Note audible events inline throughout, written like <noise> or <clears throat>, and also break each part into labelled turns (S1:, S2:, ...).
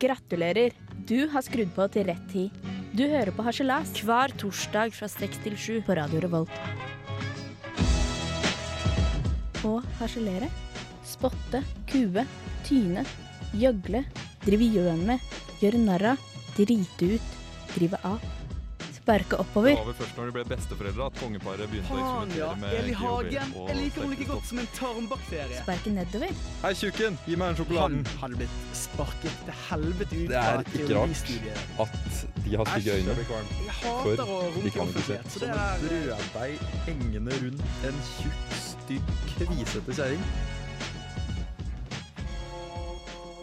S1: Gratulerer! Du har skrudd på til rett tid. Du hører på Harselas
S2: Hver torsdag fra seks til sju.
S1: på Radio Revolt. Å harselere, spotte, kue, tyne, gjøgle, drive gjøn med, gjøre narr av, drite ut, drive av. Sparke
S3: Det
S1: oppover.
S3: var vel først når de ble besteforeldre at kongeparet begynte å
S4: Faen, ja.
S3: eksperimentere med
S4: Eli Hagen.
S3: GHB.
S4: Jeg liker henne like
S3: og
S4: godt som en tarmbakterie.
S1: Sparke nedover.
S3: Hei, tjukken! Gi meg den
S4: Han
S3: sjokoladen!
S4: hadde blitt sparket til helvete ut
S3: Det er
S4: fra
S3: ikke rart.
S4: teoristudiet.
S3: At de har stygge
S5: Æsj, jeg
S3: øyne.
S5: blir kvalm.
S4: Jeg
S3: For
S4: hater å
S3: de
S4: runke
S3: kan ikke se. Sånn.
S4: offentlighet, så
S5: Som
S4: det
S5: en
S4: er
S5: brødbeig hengende rundt en tjukk, stygg, kvisete kjerring.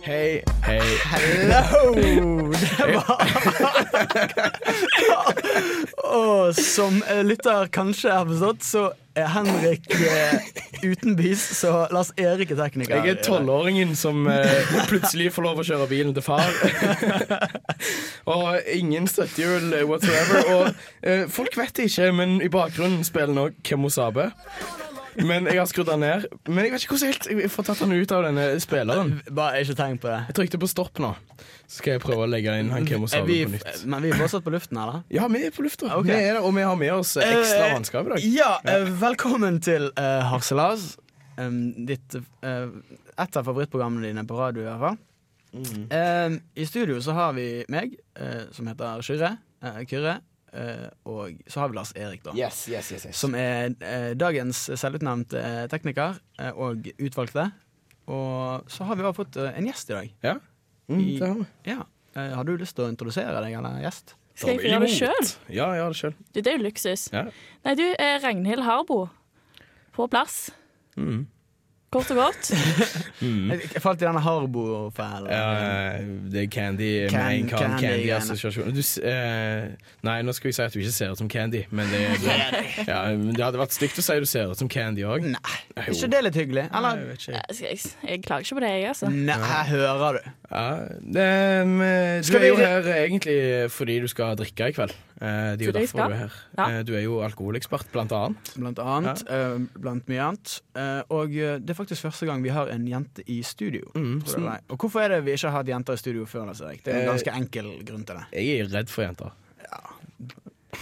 S6: Hei, hei.
S4: Hello! Det <laughs> var Og som eh, lytter kanskje har forstått, så er Henrik eh, uten bys, så Lars Erik er tekniker.
S6: Jeg er tolvåringen som eh, plutselig får lov å kjøre bilen til far. <laughs> og ingen støttehjul whatsoever. Og eh, folk vet det ikke, men i bakgrunnen spiller nå Kemosabe. Men jeg har skrudd den ned. Men jeg vet ikke hvordan jeg helt jeg får tatt den ut av denne spilleren.
S4: Bare ikke tenk på det.
S6: Jeg trykte på stopp nå. Så skal jeg prøve å legge inn han
S4: Er
S6: Kemosabe
S4: vi,
S6: på nytt.
S4: men vi er fortsatt på luften, eller?
S6: Ja, vi er på lufta.
S4: Ok.
S6: Vi er der, og vi har med oss eh, ekstra mannskap i dag.
S4: Ja, eh, velkommen til eh, Harselas. Um, ditt, eh, et av favorittprogrammene dine på radio, i hvert fall.
S6: Mm.
S4: Eh, I studio så har vi meg, eh, som heter Kyrre. eh, Kyrre eh, og så har vi Lars Erik, da.
S6: Yes, yes, yes, yes.
S4: Som er eh, dagens selvutnevnte eh, tekniker eh, og utvalgte. Og så har vi også fått eh, en gjest i dag.
S6: Ja. Mm,
S4: I-
S6: det har vi.
S4: Ja. Eh, har du lyst til å introdusere deg, eller gjest?
S7: Skal jeg gjøre det sjøl?
S6: Ja, jeg har det sjøl.
S7: Det er jo luksus.
S6: Ja.
S7: Nei, du, eh, Ragnhild Harbo. På plass.
S6: Mm.
S7: Kort og godt.
S4: Jeg, jeg falt i denne Harbo-fellen.
S6: Ja, eh, det er candy
S4: Can-
S6: Main
S4: candy-greiene.
S6: candy-assosiasjon du, s- eh, Nei, nå skal jeg si at du ikke ser ut som candy Men det, ja, men det hadde vært stygt å si du ser ut som candy også
S4: Nei, er ikke det litt hyggelig? Eller?
S6: jeg vet ikke
S7: Jeg, jeg, jeg klager ikke på det, jeg, altså.
S4: Nei, her hører du.
S6: ja, det, men, eh, Du
S4: Skal
S6: er jo
S4: vi-
S6: her egentlig fordi du skal drikke i kveld Eh, Det er
S7: Så
S6: jo
S7: det jeg
S6: derfor
S7: skal?
S6: du er her
S7: Ja.
S6: Eh, Du er jo alkoholekspert blant annet
S4: Blant annet. eh, blant mye annet. Eh, og eh, det er faktisk første gang vi har en jente i studio. Mm, Tror jeg. Og hvorfor er det vi ikke har hatt jenter i studio før? Lars Erik? Det er en
S6: Eh,
S4: ganske enkel grunn til det.
S6: Jeg er redd for jenter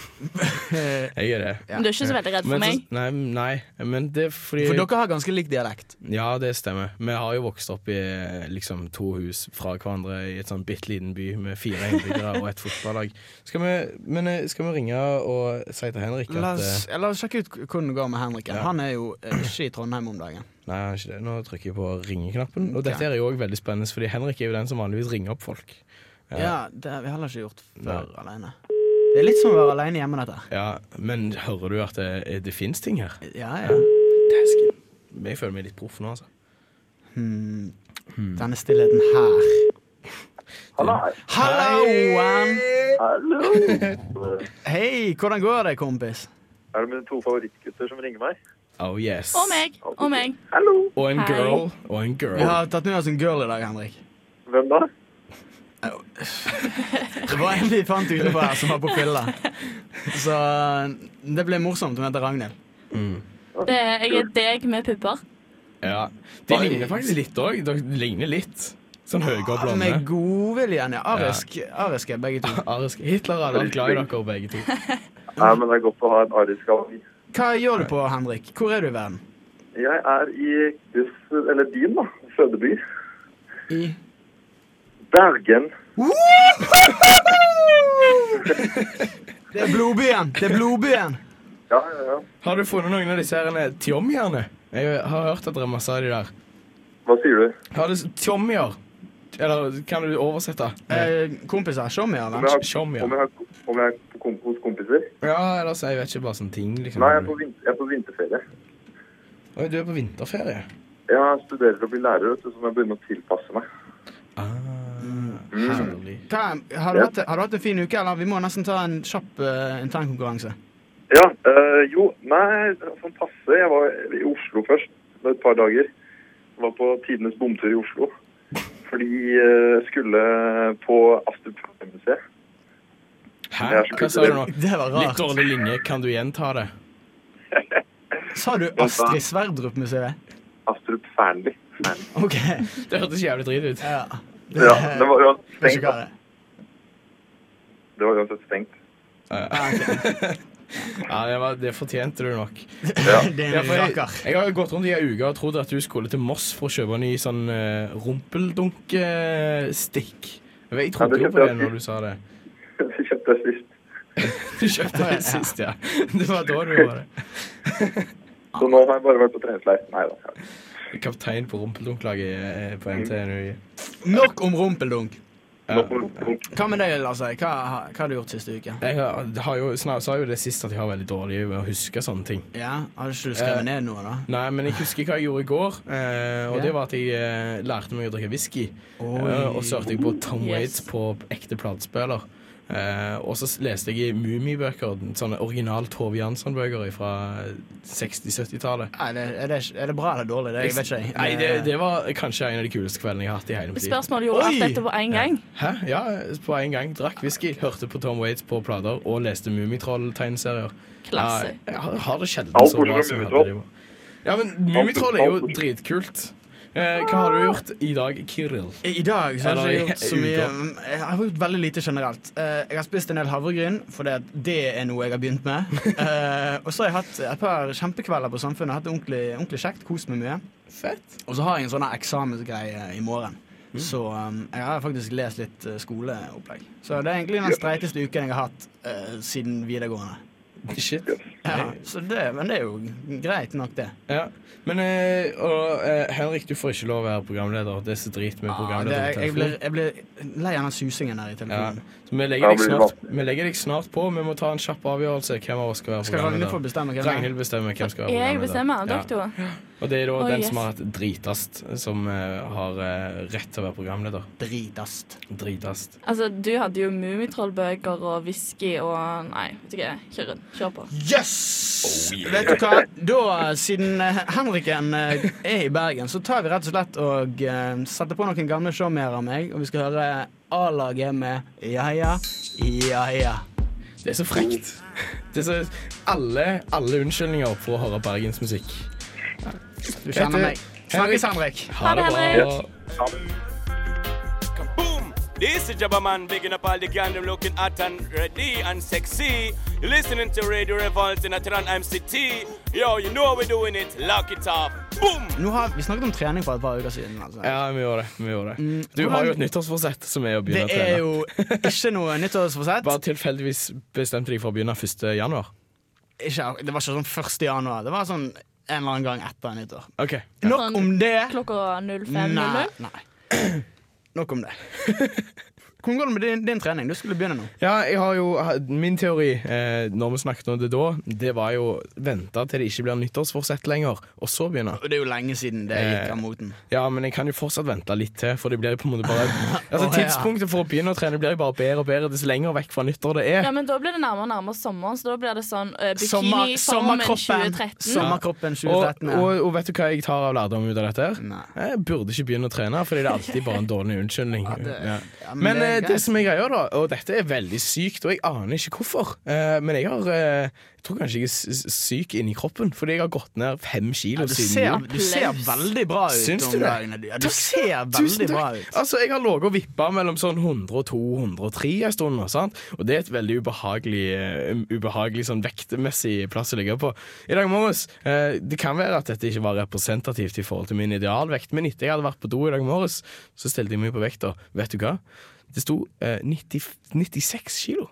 S6: Jeg er det
S4: Ja.
S7: Men du er ikke så veldig redd for
S6: men, så-
S7: meg.
S6: nei, nei, men det er fordi
S4: For dere har ganske lik dialekt.
S6: Ja, det stemmer. Vi har jo vokst opp i eh, liksom, to hus fra hverandre i et sånn bitte liten by med fire innbyggere og et fotballag. Skal vi, men eh, skal vi ringe og si til Henrik at
S4: La oss,
S6: eh,
S4: ja, la oss sjekke ut hvordan det går med Henrik.
S6: Ja.
S4: Han er jo eh, ikke i Trondheim om dagen.
S6: Nei, han er ikke det. Nå trykker jeg på ringeknappen. Og
S4: Ok.
S6: dette er jo òg veldig spennende, fordi Henrik er jo den som vanligvis ringer opp folk. Ja.
S4: Ja, Det har vi heller ikke gjort før
S6: Nei.
S4: alene Det er litt som å være alene hjemme, dette.
S6: Ja, Men hører du at det, eh, det fins ting her?
S4: Ja, ja.
S6: Dæsken. Jeg føler meg litt proff nå, altså.
S4: Hmm. Denne stillheten her. Halloen!
S8: Hallo!
S4: <laughs> Hei, hvordan går det, kompis?
S8: Er det mine to favorittgutter som ringer meg?
S6: Oh yes.
S7: Og meg. Og meg.
S8: Hallo!
S6: Og en
S7: Hei.
S6: girl. Og en
S4: Vi
S6: girl.
S4: har tatt med oss en girl i dag, Henrik.
S8: Hvem da?
S4: Det var en vi fant utenfor her som var på fylla. Så eh, det ble morsomt. Hun heter Ragnhild.
S7: Det, er- jeg er deg med pupper.
S6: Ja. De ligner faktisk litt òg. De ligner litt. Sånn høye og blonde.
S4: Med godviljen, ja. Arisk, arisk er begge to.
S6: Arisk. Hitler hadde vært glad i dere begge to.
S8: Nei, men det er godt å ha en arisk avi.
S4: Hva gjør du på, Henrik? Hvor er du i verden?
S8: Jeg er i Kus, eller din da, fødeby.
S4: I
S8: Bergen.
S4: Det er blodbyen! Det er blodbyen!
S8: Ja, ja, ja.
S6: <laughs> Har du funnet noen av disse her tjommierne? Jeg har hørt at det er masse av de der.
S8: Hva sier du?
S6: Har du s- tjommier? Eller kan du oversette?
S4: Eh, kompiser, se meg,
S8: Om jeg
S4: Arne.
S8: har,
S6: Tjommier.
S8: om jeg har, om jeg er på kom, hos kompiser?
S6: Ja, eller så jeg vet ikke, bare sånne ting, liksom.
S8: Nei, jeg er, på vin- jeg er på vinterferie.
S6: Oi, du er på vinterferie.
S8: Jeg studerer til å bli lærer, vet du, så må jeg begynne å tilpasse meg.
S6: Ah,
S8: Mm.
S6: herlig.
S4: Hva, har, du hatt, har du hatt en fin uke, eller? Vi må nesten ta en kjapp uh, internkonkurranse.
S8: Ja, øh, jo, nei, sånn passe. Jeg var i Oslo først, det var et par dager. Jeg var på tidenes bomtur i Oslo. Fordi jeg skulle på Astrup museet
S6: Hæ? Hva sa du nå?
S4: Det var
S6: Litt
S4: rart.
S6: dårlig linje. Kan du gjenta det?
S4: Sa du Astrid Sverdrup-museet? <laughs>
S8: Astrup Fearnley.
S4: OK.
S6: Det hørtes jævlig drit ut.
S4: Ja.
S8: Ja, det var uansett
S4: Vet
S8: stengt.
S4: ikke hva
S8: da.
S4: det er.
S8: Det var uansett stengt. <laughs>
S6: Eh. Ah, <laughs> Ja, det, var, det fortjente du nok.
S4: Det er
S6: Ja,
S4: en
S6: for jeg,
S4: raker.
S6: jeg har jo gått rundt i ei uke og trodd at du skulle til Moss for å kjøpe en ny sånn uh, rumpeldunkestikk. Jeg vet- jeg
S8: Ja, det
S6: trodde jo
S8: kjøpte
S6: på
S8: jeg
S6: det når du sa det.
S8: Det kjøpte jeg sist.
S6: <laughs> Du kjøpte det sist, ja. <laughs> Det var da du var det.
S8: Så nå har jeg bare vært på treningsleir. Nei da.
S6: Kaptein på rumpeldunkelaget eh, på NTNU.
S4: Nok om rumpeldunk.
S8: Nå får du-
S4: Hva med deg, Lasse? Hva, hva har du gjort siste uke?
S6: Jeg har, har jo, snar- sa jo det sist at jeg har veldig dårlig med å huske sånne ting.
S4: Ja, Har ikke du skrevet ned noe, da?
S6: Nei, men jeg husker hva jeg gjorde i går, eh, og det var at jeg eh, lærte meg å drikke whisky. Eh, og så hørte jeg på Tom Waits
S7: Yes.
S6: på ekte platespiller. Eh, og så s- leste jeg i Mummibøker, sånne original Tove Jansson-bøker fra 60-70-tallet.
S4: Nei, det, er, det, er det bra eller dårlig? Det, jeg vet ikke.
S6: Nei, det, det var kanskje en av de kuleste kveldene jeg har hatt i hele mitt liv.
S7: Spørsmålet gjorde alt
S4: Oi!
S7: dette på én gang.
S6: Hæ? Ja, på en gang. Drakk whisky, hørte på Tom Waits på plater og leste Mummitroll-tegneserier.
S7: Klasse.
S6: Ja, jeg har- har det sjelden
S8: Alt
S6: så bra
S8: bortsett
S6: som
S8: fra
S6: jeg
S8: Mummitroll.
S6: hadde det. Ja, men Mummitroll er jo dritkult. Eh, hva har du gjort i dag, Kirill?
S4: I dag så har jeg
S6: Eller
S4: ikke gjort så
S6: i
S4: mye
S6: uka.
S4: mm, Jeg har gjort veldig lite generelt. Eh, Jeg har spist en del havregryn, for det, det er noe jeg har begynt
S6: <laughs>
S4: med. Eh, Og så har jeg hatt et par kjempekvelder på Samfunnet. Hatt det ordentlig, ordentlig kjekt, kost meg mye.
S6: Fett.
S4: Og så har jeg en sånn her eksamensgreie i morgen.
S6: Mm.
S4: Så um, jeg har faktisk lest litt eh, skoleopplegg. Så det er egentlig den streiteste uken jeg har hatt eh, siden videregående.
S6: Shit.
S4: Ja, så det, men det er jo greit nok, det.
S6: Ja. Men eh, og, eh, Henrik, du får ikke lov å være programleder. Det er så drit med
S4: Ja, Ah, det
S6: programleder.
S4: jeg, jeg,
S6: på
S4: blir,
S6: telefon.
S4: jeg blir lei av den susingen der i
S6: ja.
S4: telefonen.
S6: Så vi legger, deg
S8: Da blir det
S6: snart,
S8: vanskelig.
S6: vi legger deg snart på. Vi må ta en kjapp avgjørelse. Hvem av oss skal være
S4: Skal Ragnhild få
S6: programleder?
S4: bestemme hvem det er?
S6: Ragnhild bestemmer hvem som skal være
S7: Jeg
S6: programleder.
S7: bestemmer. Dere to.
S6: Og det er da
S7: Å,
S6: den
S7: yes.
S6: som har hatt dritast, som eh, har eh, rett til å være programleder.
S4: Dritast.
S6: Dritast.
S7: Altså, du hadde jo Mummitrollbøker og whisky og Nei, vet ikke. Kjør, kjør på.
S4: Yes! Vet du hva? Da, siden eh, Henriken eh, er i Bergen, så tar vi rett og slett og eh, setter på noen gamle showmere av meg, og vi skal høre A-laget med Ja ja, ja ja.
S6: Det er så frekt. Det er så, alle, alle unnskyldninger for å høre bergensmusikk.
S4: Du kjenner meg. Snakkes, Henrik.
S6: Ha det bra.
S7: Henrik.
S9: Boom! This is Jabba Man, bigging up all the gang, them looking hot and ready and sexy. You're listening to Radio Revolt in Atran MCT. Yo, you know how we're doing it. Lock it up. Boom!
S4: Nå har vi snakket om trening for et par uker siden. Altså.
S6: Ja, vi gjør det. Vi gjør det. Du
S4: hvordan-
S6: har jo et nyttårsforsett som er å
S4: Mm, Det
S6: begynne å
S4: er
S6: trene.
S4: jo ikke noe nyttårsforsett.
S6: Bare tilfeldigvis bestemte deg for å begynne 1. januar.
S4: Ikke, det var ikke sånn 1. januar. Det var sånn en eller annen gang etter nyttår.
S6: Ok.
S4: Nok om det.
S7: Klokka 05.00.
S4: Nei. nei. <clears throat> Nok om det. <laughs> Hvordan går det med din, din trening? Du skulle begynne nå.
S6: Ja, jeg har jo Min teori eh, når vi snakket om det da, det var jo vente til det ikke blir nyttårsforsett lenger, og så begynne.
S4: Og Det er jo lenge siden
S6: Eh,
S4: det gikk av moten.
S6: Ja, men jeg kan jo fortsatt vente litt til, for det blir jo på en måte <laughs> bare
S4: Å, ja.
S6: Altså, tidspunktet for å begynne å trene blir jo bare bedre og bedre dess lenger vekk fra nyttår det er.
S7: Ja, men Da blir det nærmere og nærmere sommeren, så da blir det sånn eh,
S4: Sommer-
S7: bikiniformen
S4: sommerkroppen
S7: 2013.
S4: Sommerkroppen
S6: Og,
S4: 2013. ja.
S6: og, og vet du hva jeg tar av lærdom ut av dette? her?
S4: Nei.
S6: Jeg burde ikke begynne å trene, fordi det er alltid bare en dårlig unnskyldning. Ja.
S4: ja, men
S6: men
S4: det
S6: eh,
S4: er
S6: det,
S4: greit.
S6: som er greia, da, og dette er veldig sykt, og jeg aner ikke hvorfor, eh, men jeg har eh, Jeg tror kanskje jeg er s- s- syk inni kroppen, fordi jeg har gått ned fem kilo
S4: Du
S6: siden
S4: ser,
S6: jul.
S4: du ser veldig bra ut
S6: Syns du
S4: om
S6: det?
S4: dagen. Ja, du ser veldig
S6: Tusen
S4: bra
S6: takk.
S4: ut.
S6: Altså, Jeg har ligget og vippa mellom sånn 100 og 203 en stund, nå, sant? og det er et veldig ubehagelig, eh, ubehagelig sånn vektmessig plass å ligge på. I dag morges eh, Det kan være at dette ikke var representativt i forhold til min idealvekt, men etter jeg hadde vært på do i dag morges, så stelte jeg meg på vekta. Vet du hva? Det sto eh, 90, 96 kilo.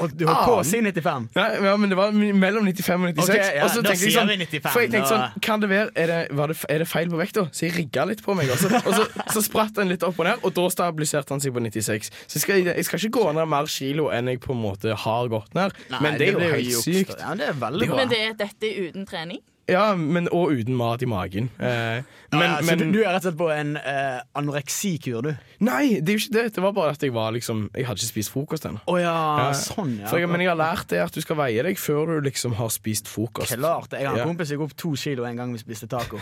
S4: Og du holdt på å
S6: Annen.
S4: si 95.
S6: Nei, ja, men det var mi- mellom 95 og 96.
S4: Ok, ja,
S6: og så
S4: da
S6: tenkte jeg
S4: sier
S6: sånn,
S4: vi 95,
S6: For jeg tenkte
S4: da-
S6: sånn, kan det være, er det, var det, er det feil på vekta? Så jeg rigga litt på meg, og så, og så, så spratt den litt opp og ned, og da stabiliserte han seg på 96. Så jeg skal, jeg skal ikke gå ned mer kilo enn jeg på en måte har gått ned,
S4: Nei,
S6: men det er
S4: blir
S6: jo helt
S4: juks, da.
S6: sykt.
S4: Ja, det er veldig bra.
S7: Men det, dette er uten trening?
S6: Ja, men, Og uten mat i magen. Eh, men,
S4: ja, så
S6: men
S4: du, du er rett og slett på en eh, anoreksikur, du?
S6: Nei, det er jo ikke det. Det var bare at jeg var liksom Jeg hadde ikke spist frokost ennå.
S4: Å ja, sånn,
S6: For jeg, men
S4: ja.
S6: jeg har lært det at du skal veie deg før du liksom har spist frokost.
S4: Klart det. Jeg har
S6: Ja.
S4: en kompis som gikk opp to kilo en gang vi spiste
S6: <laughs>
S4: taco.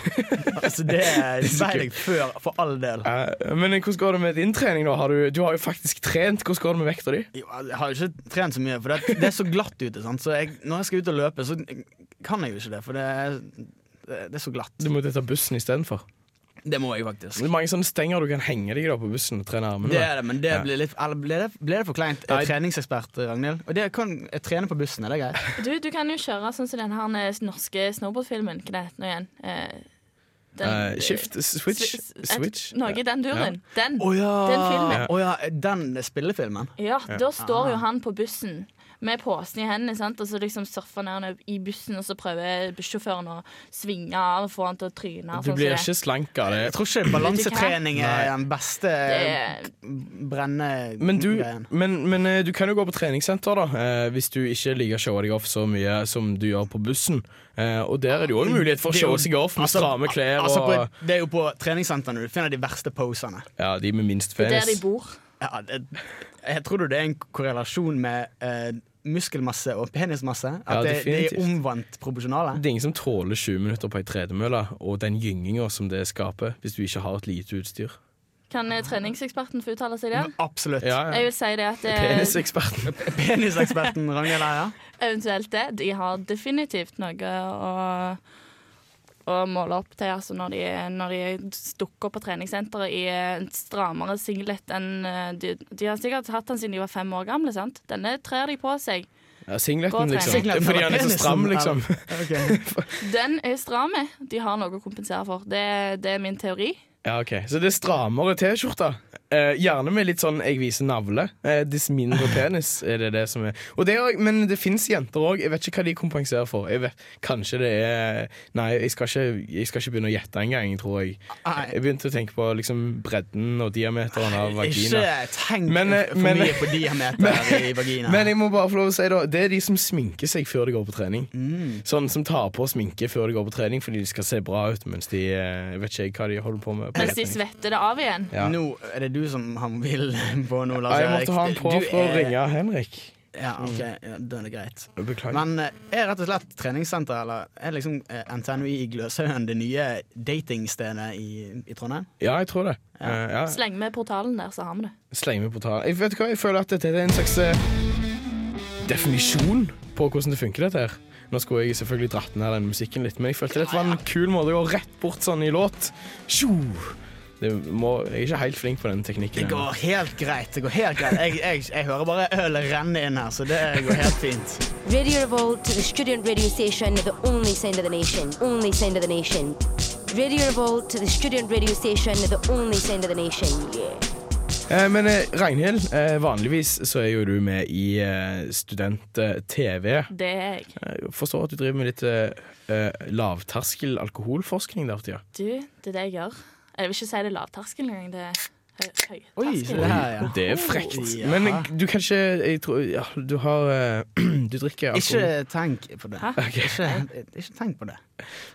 S4: altså, det vei deg før, for all del.
S6: Eh, Men hvordan går det med din trening? da? Har du, du har jo faktisk trent. Hvordan går det med vekta di?
S4: Jo, Jeg har jo ikke trent så mye, for det, det er så glatt ute. Sant? Så jeg, når jeg skal ut og løpe, så kan jeg jo ikke det, for det er, det er så glatt.
S6: Du måtte ta bussen istedenfor.
S4: Det må jeg faktisk.
S6: Det er mange sånne stenger du kan henge deg i da på bussen og trene armene.
S4: Det
S6: med.
S4: er det, men det
S6: Ja.
S4: blir litt Eller ble det, ble det for kleint? Jeg
S6: Nei.
S4: er treningsekspert, Ragnhild. Og det kan jeg trene på bussen, er det greit?
S7: Du, du kan jo kjøre sånn som den her eh, norske snowboardfilmen. Hva det heter nå igjen? Eh, den-
S6: Eh, shift, switch,
S7: Swi- et-
S6: switch.
S7: Noe i den duren. Den.
S4: Å ja.
S7: Den filmen.
S4: Å ja, den spillefilmen.
S7: Ja, da står jo han på bussen med posen i hendene, sant? og så liksom surfer han ned i bussen, og så prøver bussjåføren å svinge av og få han til å
S6: Du
S7: tryne. sånn som
S6: blir
S7: det.
S6: ikke slank av
S4: Jeg
S6: det.
S4: tror ikke balansetrening er
S6: Nei.
S4: den beste eh,
S7: Det-
S6: Men du,
S4: brenne-greien.
S6: men, men eh, du kan jo gå på treningssenter, da, eh, hvis du ikke liker å showe deg off så mye som du gjør på bussen. Eh, og der er det jo en mulighet for å
S4: Det er jo-
S6: showe seg off med stramme klær
S4: altså,
S6: og
S4: på, Det er jo på treningssentrene du finner de verste posene.
S6: Ja, de med minst
S7: Det er der de
S6: penis.
S7: bor.
S4: Ja, det, jeg tror det er en korrelasjon med eh, muskelmasse og penismasse. At
S6: Ja,
S4: det, de er
S6: definitivt.
S4: omvendt proporsjonale.
S6: Det er ingen som tåler 20 minutter på ei tredemølle og den gynginga som det skaper, hvis du ikke har et lite utstyr.
S7: Kan eh, treningseksperten få uttale seg der?
S4: Absolutt.
S6: Ja,
S7: Jeg
S6: ja.
S7: vil si det at eh,
S6: Peniseksperten.
S4: <laughs> Peniseksperten Ragnhild
S6: <laughs>
S4: Eia.
S7: eventuelt det. De har definitivt noe å, å måle opp til altså når, de, når de dukker opp på treningssenteret i en strammere singlet enn eh, de, de har sikkert hatt den siden de var fem år gamle, sant? Denne trer de på seg.
S6: Ja,
S7: Gå og
S6: singleten,
S7: trene.
S6: liksom. Det er Fordi han er så stram, liksom. <laughs>
S7: Den er stram. eh. De har noe å kompensere for. Det, det er min teori.
S6: Ja, ok Så det er strammere T-skjorter. Eh, gjerne med litt sånn 'jeg viser navle'. Eh, dess mindre penis er det det som er. Og det er men det fins jenter òg. Jeg vet ikke hva de kompenserer for. Jeg vet, kanskje det er Nei, jeg skal ikke, jeg skal ikke begynne å gjette engang, tror jeg.
S4: Nei.
S6: Jeg begynte å tenke på liksom bredden og diameteren av
S4: Ikke
S6: vagina.
S4: tenk
S6: Men, eh,
S4: for
S6: men-
S4: mye på diameter i vagina.
S6: <laughs> Men jeg må bare få lov å si da det er de som sminker seg før de går på trening.
S4: Mm.
S6: Sånn som tar på sminke før de går på trening fordi de skal se bra ut mens de eh, Jeg vet ikke hva de holder på med. på
S7: Mens de
S6: trening.
S7: svetter det av igjen.
S6: Ja.
S4: Nå er det du som har mobilen <laughs> på nå,
S6: Ja,
S4: Lars
S6: jeg måtte ha han på
S4: Altså, Du
S6: for å
S4: er-
S6: ringe Henrik.
S4: Ja, ok, ja, Da er det greit.
S6: Beklager.
S4: Men eh, er rett og slett treningssenter eller er liksom eh, NTNU i Gløshaugen det nye datingstedet i, i Trondheim?
S6: Ja, jeg tror det. Ja. ja.
S7: Sleng med portalen der, så har vi det.
S6: Sleng med portalen. Jeg vet hva, jeg føler at dette er en slags eh, definisjon på hvordan det funker, dette her. Nå skulle jeg selvfølgelig dratt ned den musikken litt, men jeg følte dette var en kul måte å gå rett bort sånn i låt. Tjo! Det må, jeg er ikke helt flink på den teknikken.
S4: Det
S6: ennå.
S4: går helt greit. det går helt greit Jeg, jeg, jeg hører bare ølet renne inn her, så det går helt fint.
S6: <laughs>
S10: Radio Revolt to the student radio station, the only sound of the nation, only sound of the nation. Radio Revolt to the student radio station, the only sound of the nation. Yeah.
S6: Eh, men eh, Ragnhild, eh, vanligvis så er jo du med i eh, student-TV.
S7: Det er jeg.
S6: Jeg forstår at du driver med litt eh, eh, lavterskel alkoholforskning der for tida.
S7: Du, det er det jeg gjør. Jeg vil ikke si det er lavterskel engang. Det er hø-
S4: Oi, se
S7: høyterskel.
S4: det her, ja.
S6: Det er frekt.
S4: Ja.
S6: Men eh, du kan ikke jeg tror, ja, Du har eh, <clears throat> Du drikker
S4: Ikke
S6: alkohol.
S4: tenk på det. Ikke, ikke tenk
S6: <laughs>
S4: på det.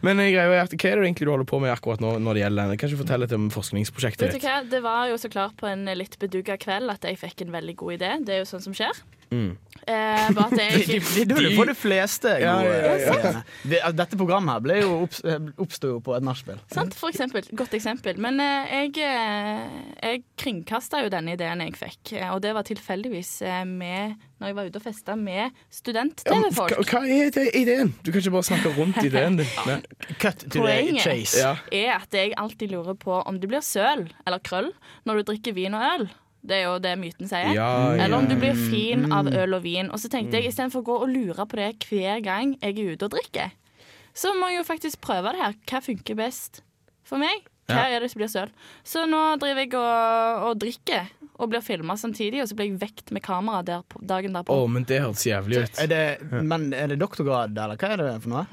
S6: Men eh, greia er at hva er det egentlig du holder på med akkurat nå? når det gjelder den? Kan ikke fortelle litt om forskningsprosjektet
S7: Vet du
S6: ditt?
S7: hva? Det var jo så klart på en litt bedugga kveld at jeg fikk en veldig god idé. Det er jo sånn som skjer. Eh, bare at jeg
S4: Det det er da du får Mm. <laughs> de fleste gode
S6: Ja, ja, ja,
S4: ideene. Det- altså, Dette programmet her ble jo opps- eh, oppsto jo på et nachspiel.
S7: Sant, for eksempel. Godt eksempel. Men eh, jeg, eh, jeg kringkasta jo denne ideen jeg fikk, eh, og det var tilfeldigvis eh, med Når jeg var ute og festa med
S6: Ja, men hva,
S7: student-TV-folk.
S6: hva er det, ideen? Du kan ikke bare snakke rundt ideen
S7: <laughs>
S6: din. Nei.
S4: Cut to the
S7: Poenget.
S4: chase.
S6: Ja.
S7: Er at jeg alltid lurer på om du blir søl eller krøll når du drikker vin og øl. Det er jo det myten sier.
S6: Ja, ja.
S7: Eller om du blir fin av øl og vin. Og så tenkte jeg istedenfor å gå og lure på det hver gang jeg er ute og drikker, så må jeg jo faktisk prøve det her. Hva funker best for meg? Hva er det som blir søl? Så nå driver jeg og, og drikker og blir filma samtidig, og så blir jeg vekt med kamera der på, dagen
S6: Å,
S7: derpå.
S6: men det hørtes jævlig ut.
S4: Er det, men er det doktorgrad, eller hva er det for noe?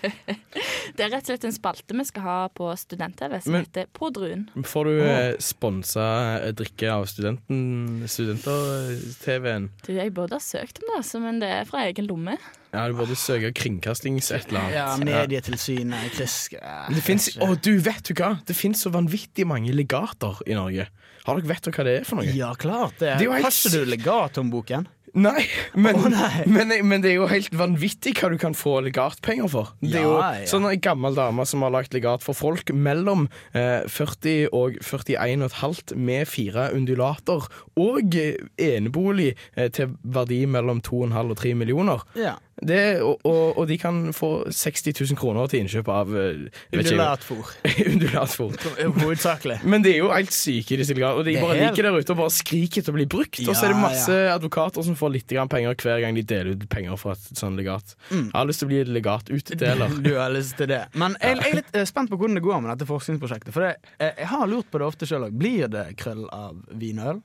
S7: Det er rett og slett en spalte vi skal ha på student-TV som
S6: Men-
S7: heter På druen.
S6: Får du eh, sponsa eh, drikke av studenten studenter-TV-en?
S7: Du, jeg burde ha søkt om det, altså, men det er fra egen lomme.
S6: Ja, du burde søke kringkastings et eller annet.
S4: Ja, Medietilsynet, Krisk
S6: Det finnes, å, du vet du hva? Det fins så vanvittig mange legater i Norge. Har dere vet dere hva det er for noe?
S4: Ja, klart det.
S6: er jo helt
S4: Har ikke du legatomboken?
S6: Nei, men,
S4: Å, nei.
S6: Men, men det er jo helt vanvittig hva du kan få legatpenger for. Det er jo
S4: Ja, ja.
S6: sånn en gammel dame som har lagd legat for folk mellom eh, 40 og 41,5 med fire undulater og eh, enebolig eh, til verdi mellom 2,5 og 3 millioner.
S4: Ja.
S6: Det, og, og, og de kan få 60 000 kroner til innkjøp av eh, vet ikke jeg- <laughs>
S4: Undulatfòr.
S6: Undulatfòr.
S4: Hovedsakelig.
S6: Men det er jo helt syke de stiller Og de
S4: Det er
S6: bare
S4: helt-
S6: ligger der ute og bare skriker til å bli brukt. og så er det
S4: Ja,
S6: masse advokater som får litt grann penger hver gang de deler ut penger fra et sånt legat.
S4: Mm.
S6: Jeg har lyst til å bli legatutdeler.
S4: <laughs> Du har lyst til det. Men jeg, jeg er litt eh, spent på hvordan det går med dette forskningsprosjektet. For det, eh, jeg har lurt på det ofte sjøl òg. Blir det krøll av vinøl?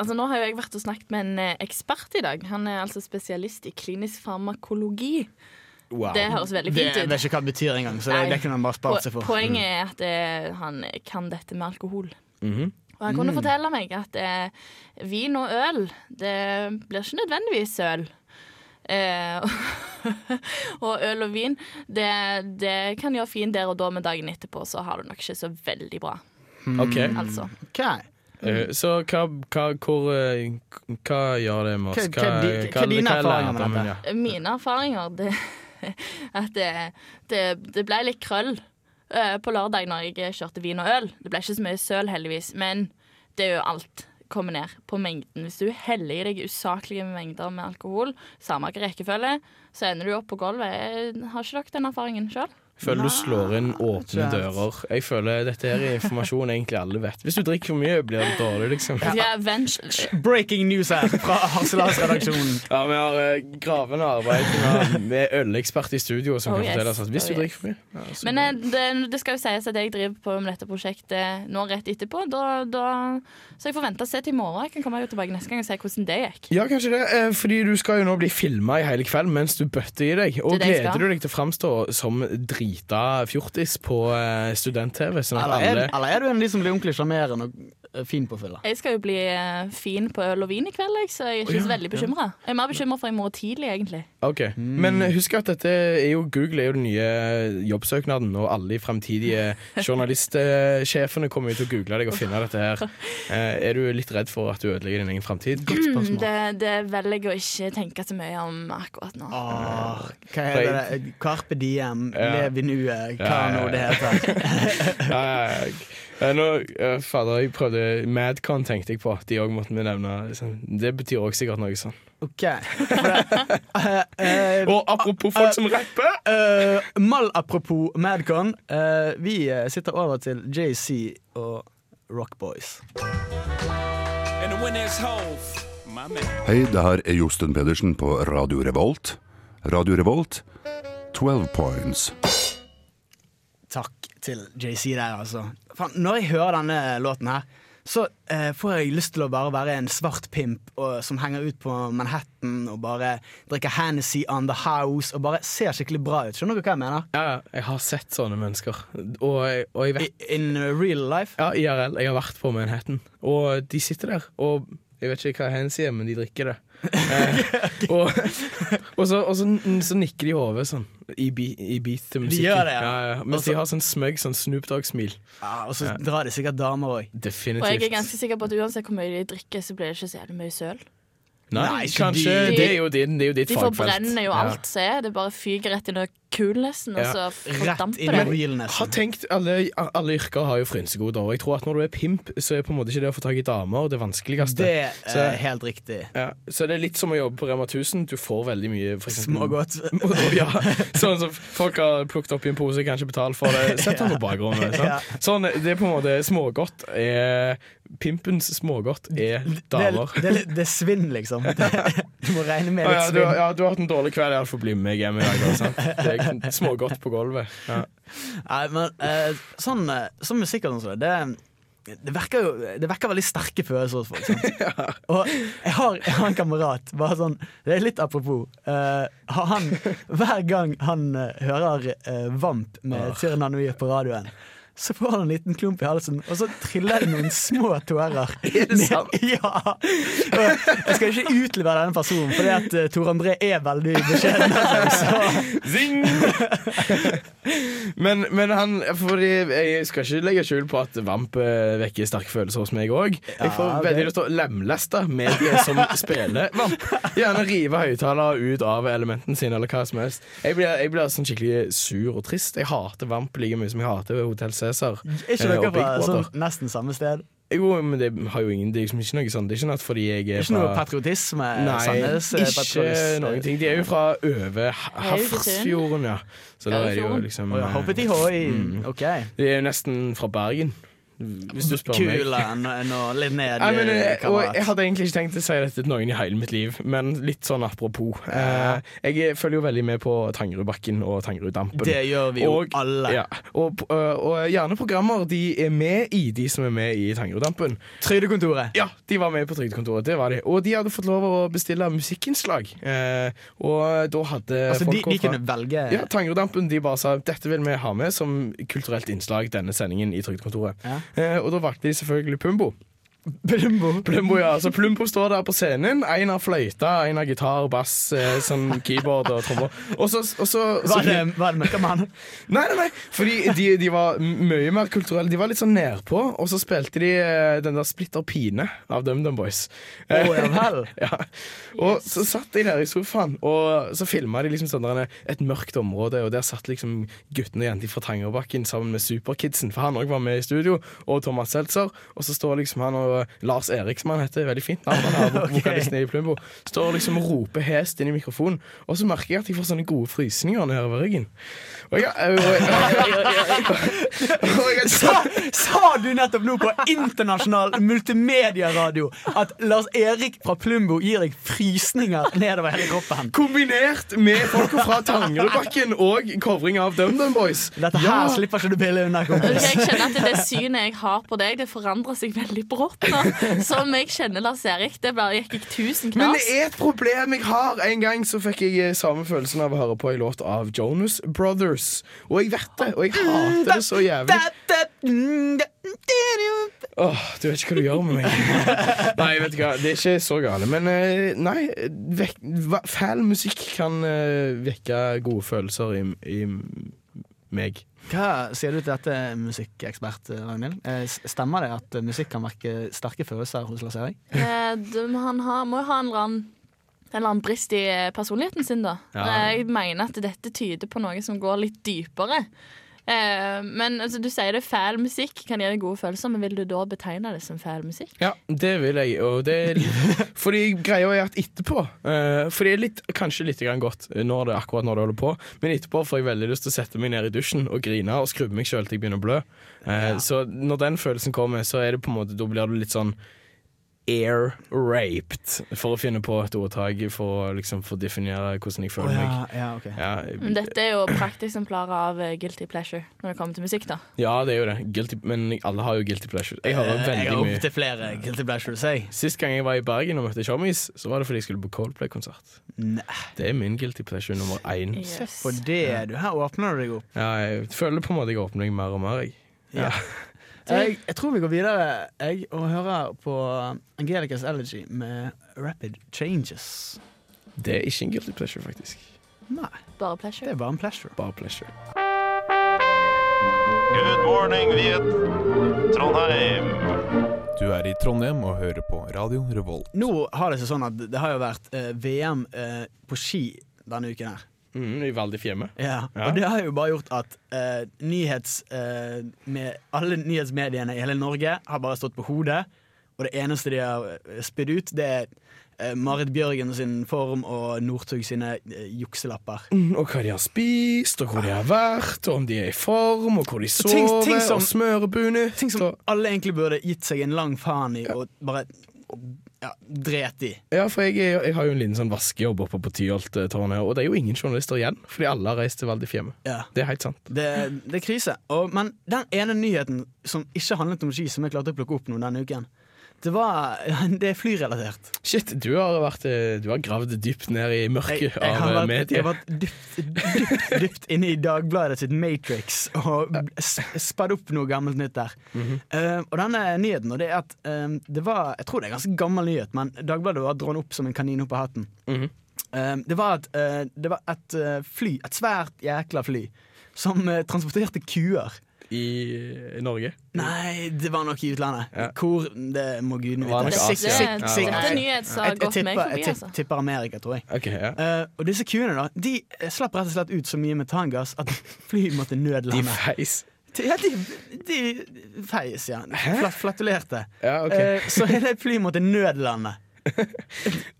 S7: Altså, nå har jo jeg vært og snakket med en eh, ekspert i dag. Han er altså spesialist i klinisk farmakologi.
S6: Wow.
S7: Det høres veldig
S4: Det,
S7: fint
S4: jeg
S7: ut.
S4: vet ikke hva det betyr engang, så det,
S7: Nei.
S4: det kunne han bare spart seg
S7: Po
S4: for.
S7: poenget er at eh, han kan dette med alkohol.
S6: Mhm.
S7: Og han
S4: Mm.
S7: kunne fortelle meg at eh, vin og øl, det blir ikke nødvendigvis øl. Eh, <laughs> og øl og vin, det, det kan gjøre fint der og da, men dagen etterpå så har du nok ikke så veldig bra.
S4: Mm.
S6: Ok.
S7: Altså.
S4: Ok.
S6: Eh, Så hva, hva, hvor, eh, hva gjør det med oss?
S4: Hva- hva di- hva er dine
S6: lærer
S4: erfaringer med
S6: det, men
S4: dette?
S6: ja.
S7: Mine erfaringer det, <laughs> at det, det, det ble litt krøll eh, på lørdag når jeg kjørte vin og øl. Det ble ikke så mye søl, heldigvis, men det er jo alt kommer ned på mengden. Hvis du heller i deg usaklige mengder med alkohol, samme hvilken rekkefølge, så ender du opp på gulvet. Jeg Har ikke dere den erfaringen sjøl?
S6: Føler du slår inn åpne
S4: ikke helt.
S6: dører. Jeg føler Dette her er informasjon egentlig alle vet. Hvis du drikker for mye, blir det dårlig, liksom. Ja,
S7: Ja, vent-
S4: Breaking news her fra Harselas-redaksjonen.
S6: <laughs> Vi har eh, gravende arbeid vi har med eh, ølekspert i studio som
S7: Oh,
S6: kan
S7: yes.
S6: fortelle oss at hvis
S7: Oh,
S6: du
S7: yes.
S6: drikker for mye ja, så-
S7: Men eh, det, det skal jo sies at jeg driver på med dette prosjektet nå rett etterpå. Da, da, så jeg får vente og se til i morgen. Jeg kan komme jo tilbake neste gang og se hvordan det gikk.
S6: Ja, kanskje det. eh, Fordi du skal jo nå bli filma i hele kveld mens du bøtter i deg. Og
S7: Det er det jeg
S6: gleder
S7: skal.
S6: du deg til å framstå som drita fjortis på eh, student-TV, sånn at
S4: Eller er,
S6: alle
S4: eller er du en av de som blir ordentlig sjarmerende og eh, fin på fylla?
S7: Jeg skal jo bli eh, fin på øl og vin i kveld, jeg, så jeg er ikke
S6: Å, ja,
S7: så veldig bekymra. Jeg er mer bekymra for i morgen tidlig, egentlig.
S6: Ok, Men eh, husk at dette er jo Google er jo den nye jobbsøknaden, og alle de
S7: <laughs>
S6: fremtidige journalistsjefene kommer jo til å google deg og finne dette
S7: <laughs>
S6: her. Eh, Er du litt redd for at du ødelegger din egen
S7: <clears throat>
S6: fremtid?
S7: Det, det velger jeg å ikke tenke så mye om akkurat
S6: Ah,
S7: nå.
S4: Åh, hva er det? Carpe diem,
S6: Ja.
S4: lev i nuet, hva
S6: Ja, ja,
S4: nå det
S6: ja.
S4: heter. <laughs>
S6: Eh, eh, Nå, eh, fader, jeg prøvde Madcon, tenkte jeg på. De òg måtte vi nevne. liksom. Det betyr òg sikkert noe sånn.
S4: Ok. For det, eh, eh,
S6: Og apropos folk som rapper!
S4: eh, mal apropos Madcon. eh, vi eh, sitter over til JC og Rock Boys.
S9: And the winner is Hove. My man.
S11: Hei, det her er Josten Pedersen på Radio Revolt. Radio Revolt, 12 points.
S4: Takk til JC der, altså. Fan, når jeg hører denne låten her, så eh, får jeg lyst til å bare være en svart pimp og, som henger ut på Manhattan og bare drikker Hennessy on the house og bare ser skikkelig bra ut. Skjønner dere hva jeg mener?
S6: Ja, ja, jeg har sett sånne mennesker. Og, jeg- og jeg vet
S4: I, in real life.
S6: Ja, IRL. Jeg har vært på Manhattan. Og de sitter der, og jeg vet ikke hva hands er, men de drikker det. Eh, og, <laughs> og, så, og så, så nikker de i hodet sånn, i, bi, i beat til musikken.
S4: gjør det, ja.
S6: Mens
S4: Og så-
S6: de har sånn smøgg, sånn Snoop Dogg-smil.
S4: Ja, og så drar de sikkert damer òg.
S7: Og jeg er
S6: Definitivt.
S7: ganske sikker på at uansett hvor mye de drikker, så blir det ikke så jævlig mye søl.
S6: Nei,
S4: Nei, ikke
S6: kanskje
S7: de-
S6: det, er jo din, det er jo ditt
S7: De
S6: fagfelt.
S7: forbrenner jo
S6: Ja.
S7: alt som er. Det bare fyker rett inn i coolnessen, og
S6: Ja.
S7: så
S4: Rett
S7: fordamper
S4: in
S7: det.
S6: Har
S4: realnessen.
S6: tenkt, alle, alle yrker har jo frynsegoder. og Jeg tror at når du er pimp, så er på en måte ikke det å få tak i damer det vanskeligste.
S4: Det er
S6: Så-
S4: helt riktig.
S6: Ja, så det er litt som å jobbe på Rema 1000. Du får veldig mye. For eksempel- <laughs>
S4: Smågodt.
S6: Og ja, sånn som folk har plukket opp i en pose, kan ikke betale for det. Sett den på
S4: <laughs>
S6: bakgrunnen.
S4: Ja.
S6: Sant? Sånn, det er på en måte smågodt er Pimpens smågodt er
S4: Det, er-
S6: damer.
S4: det, er- det er svinn,
S6: <laughs>
S4: liksom. Du må regne med
S6: Ah, ja,
S4: litt
S6: du,
S4: svinn.
S6: ja, du har hatt en dårlig kveld, iallfall bli med meg hjem i dag. da, sant? Det er smågodt på gulvet. Ja.
S4: Nei, men eh, sånn, eh, sånn musikk og sånn, det, det verker jo Det verker veldig sterke følelser hos folk. <laughs> Sant? Og jeg har, jeg har en kamerat, bare sånn Det er litt apropos. eh, har han, hver gang han eh, hører eh, Vamp med Tyrna Nui på radioen, så får han en liten klump i halsen, og så triller det noen små tårer. <laughs> Er det sant? Ja. Og Jeg skal ikke utlevere denne personen, fordi at eh, Tor André er veldig beskjeden. Altså, så. <laughs>
S6: Zing! men, men han fordi Jeg skal ikke legge skjul på at Vamp eh, vekker sterke følelser hos meg òg. Jeg får
S4: Ja, det-
S6: veldig lyst til å lemleste mediet
S4: <laughs>
S6: som spiller Vamp. Gjerne rive høyttaler ut av elementene sine, eller hva som helst. Jeg blir, jeg blir sånn skikkelig sur og trist. Jeg hater Vamp like mye som jeg hater Hotell Cæsar.
S4: Er ikke
S6: eh, og
S4: dere sånn-
S6: Big
S4: fra
S6: Brother.
S4: sånn, nesten samme sted?
S6: Jo, men det har jo ingen Det er liksom ikke noe sånn Det er ikke noe at fordi jeg er
S4: Ikke
S6: fra
S4: noe patriotisme?
S6: Nei,
S4: Sandnes, eh,
S6: ikke
S4: patriotisme.
S6: noen ting. De er jo fra Øve Hafrsfjorden, ja. Så da er det jo
S4: Hafrsfjorden.
S6: liksom
S4: Å ja,
S6: eh,
S4: hoppeti hoi.
S6: mm.
S4: Ok.
S6: De er jo nesten fra Bergen, hvis du spør meg.
S4: Kul enn og litt ned,
S6: Nei, men, eh, og jeg
S4: kamerat.
S6: hadde egentlig ikke tenkt å si dette til noen i hele mitt liv, men litt sånn apropos. Eh, jeg følger jo veldig med på Tangerudbakken og Tangeruddampen.
S4: Det gjør vi jo
S6: Og-
S4: alle.
S6: Ja, og, eh, og gjerne programmer de er med i, de som er med i Tangeruddampen.
S4: Trygdekontoret.
S6: Ja, de var med på Trygdekontoret. det var de Og de hadde fått lov å bestille musikkinnslag. Eh, og da hadde
S4: Altså, de,
S6: folk
S4: de
S6: fra-
S4: kunne velge
S6: ja, Tangerudampen de bare sa dette vil vi ha med som kulturelt innslag denne sendingen i Trygdekontoret. Eh, og da valgte de selvfølgelig Pumbo.
S4: Plumbo.
S6: Plumbo, ja. Så Plumbo står der på scenen. En har fløyta, en har gitar, bass, eh, sånn keyboard og trommer. Og så, og så,
S4: Var det, var det møkkamann?
S6: <laughs> Nei, nei, nei, fordi de, de var m- mye mer kulturelle. De var litt sånn nedpå, og så spilte de eh, den der Splitter Pine av DumDum Boys.
S4: Å, ja vel.
S6: <laughs> ja. Og så satt de der i sofaen, og så filma de liksom sånn der, et mørkt område, og der satt liksom guttene og jentene fra Tangerbakken sammen med Superkidsen, for han òg var med i studio, og Thomas Seltzer, og så står liksom han og Lars Erik, som han heter, veldig fint navn, han
S4: <laughs>
S6: er vok- vokalisten i Plumbo, står liksom og roper hest inn i mikrofonen, og så merker jeg at jeg får sånne gode frysninger nedover ryggen. Og jeg,
S4: <laughs>
S6: og
S4: Sa, sa du nettopp nå på internasjonal multimedieradio at Lars Erik fra Plumbo gir deg frysninger nedover hele kroppen?
S6: Kombinert med folk fra Tangerudbakken og covring av DumDum Boys.
S4: Dette her slipper ikke du billig unna,
S7: Ok,
S4: kompis.
S7: Jeg kjenner at det synet jeg har på deg, det forandrer seg veldig brått nå. Som jeg kjenner Lars Erik. Det bare gikk jeg tusen
S6: Men
S7: knas.
S6: det er et problem jeg har. En gang så fikk jeg eh, samme følelsen av å høre på en låt av Jonas Brothers. Og jeg vet det, og jeg hater det så jævlig.
S4: mm,
S6: Åh, du vet ikke hva du gjør med meg. <laughs> Nei, vet du hva, det er ikke så gale. Men eh, nei, vek, hva- fæl musikk kan eh, vekke gode følelser i, i meg.
S4: Hva sier du til dette, musikkekspert eh, Ragnhild? Eh, s- Stemmer det at eh, musikk kan vekke sterke følelser hos Lars Erik?
S7: Eh, du- Han har, må jo ha en eller annen en eller annen brist i eh, personligheten sin, da.
S4: Ja.
S7: Eh, Jeg mener at dette tyder på noe som går litt dypere. Eh, Men altså, du sier det er fæl musikk kan gi deg gode følelser, men vil du da betegne det som fæl musikk?
S6: Ja, det vil jeg. Og det <laughs> fordi greia er at etterpå eh, Fordi litt, kanskje litt grann godt når det, akkurat når det holder på, men etterpå får jeg veldig lyst til å sette meg ned i dusjen og grine og skrubbe meg sjøl til jeg begynner å blø. Eh, Så når den følelsen kommer, så er det på en måte, da blir du litt sånn Air raped, for å finne på et ordtak for å liksom få definere hvordan jeg føler meg.
S4: ja, ok.
S7: Men dette er jo prakteksemplarer av eh, guilty pleasure når det kommer til musikk, da.
S6: Ja, det er jo det. Guilty, men alle har jo guilty pleasure. Jeg hører
S4: Eh, jeg
S6: veldig
S4: har
S6: mye.
S4: opptil flere guilty pleasures, jeg.
S6: Sist gang jeg var i Bergen og møtte Tjommis, så var det fordi jeg skulle på Coldplay-konsert. Det er min guilty pleasure nummer én.
S4: Se på det, du. Her åpner du deg opp.
S6: Ja, jeg føler på en måte jeg åpner meg mer og mer. Jeg. Ja.
S4: Jeg, jeg tror vi går videre jeg, og hører på Angelicas Elegy med Rapid Changes.
S6: Det er ikke en guilty pleasure, faktisk.
S4: Nei,
S7: Bare pleasure.
S4: det er bare en pleasure.
S6: Bare pleasure.
S12: Good morning, Viet. Trondheim.
S13: Du er i Trondheim og hører på Radio Revolt.
S4: Nå har det seg sånn at det har jo vært eh, VM eh, på ski denne uken her.
S6: Mm, I Valdrefjemme.
S4: Ja. Og det har jo bare gjort at eh, nyhets, eh, med, alle nyhetsmediene i hele Norge har bare stått på hodet. Og det eneste de har eh, spydd ut, det er eh, Marit Bjørgen sin form og Northug sine eh, jukselapper.
S6: Mm, Og hva de har spist, og hvor de har vært, og om de er i form, og hvor de sover,
S4: ting, ting som,
S6: og smørebunet.
S4: Ting som alle egentlig burde gitt seg en lang faen i og bare ja, dret i.
S6: Ja, for jeg, er- jeg har jo en liten sånn vaskejobb oppe på Tyholttårnet, og det er jo ingen journalister igjen, fordi alle har reist til Valdrefjemme.
S4: Ja.
S6: Det er helt sant.
S4: Det, det er krise. Og, men den ene nyheten som ikke handlet om ski, som jeg klarte å plukke opp nå denne uken, det, var, <laughs> det er flyrelatert.
S6: Shit, du har, vært, eh, du har gravd dypt ned i mørket
S4: jeg har
S6: av eh,
S4: vært- jeg
S6: medier.
S4: har vært Dypt, dypt inne i Dagbladet sitt Matrix og s- spadd opp noe gammelt nytt der.
S6: Mhm.
S4: Eh, og denne nyheten, og det er at eh, det var Jeg tror det er en ganske gammel nyhet, men Dagbladet var dratt opp som en kanin opp av hatten.
S6: Mhm.
S4: Eh, det var et, eh, det var et eh, fly, et svært jækla fly, som eh, transporterte kuer.
S6: I Norge?
S4: Nei, det var nok i utlandet. Hvor, det må gudene
S6: Var
S4: vite.
S6: nok Asia. Det-
S7: dette er nyhet som
S4: altså.
S7: har
S4: Jeg- jeg
S7: gått meg
S4: tipper-
S7: forbi,
S4: Jeg tipp-
S7: altså.
S4: tipper Amerika, tror jeg.
S6: Ok, ja.
S4: Eh, og disse kuene da, de eh, slapp rett og slett ut så mye metangass at flyet måtte
S6: De
S4: nødlande.
S6: feis.
S4: Ja, de, de feis, ja. Flat, flatulerte.
S6: Ja, ok.
S4: Eh, så hele flyet måtte
S6: <laughs>
S4: nødlande. Jeg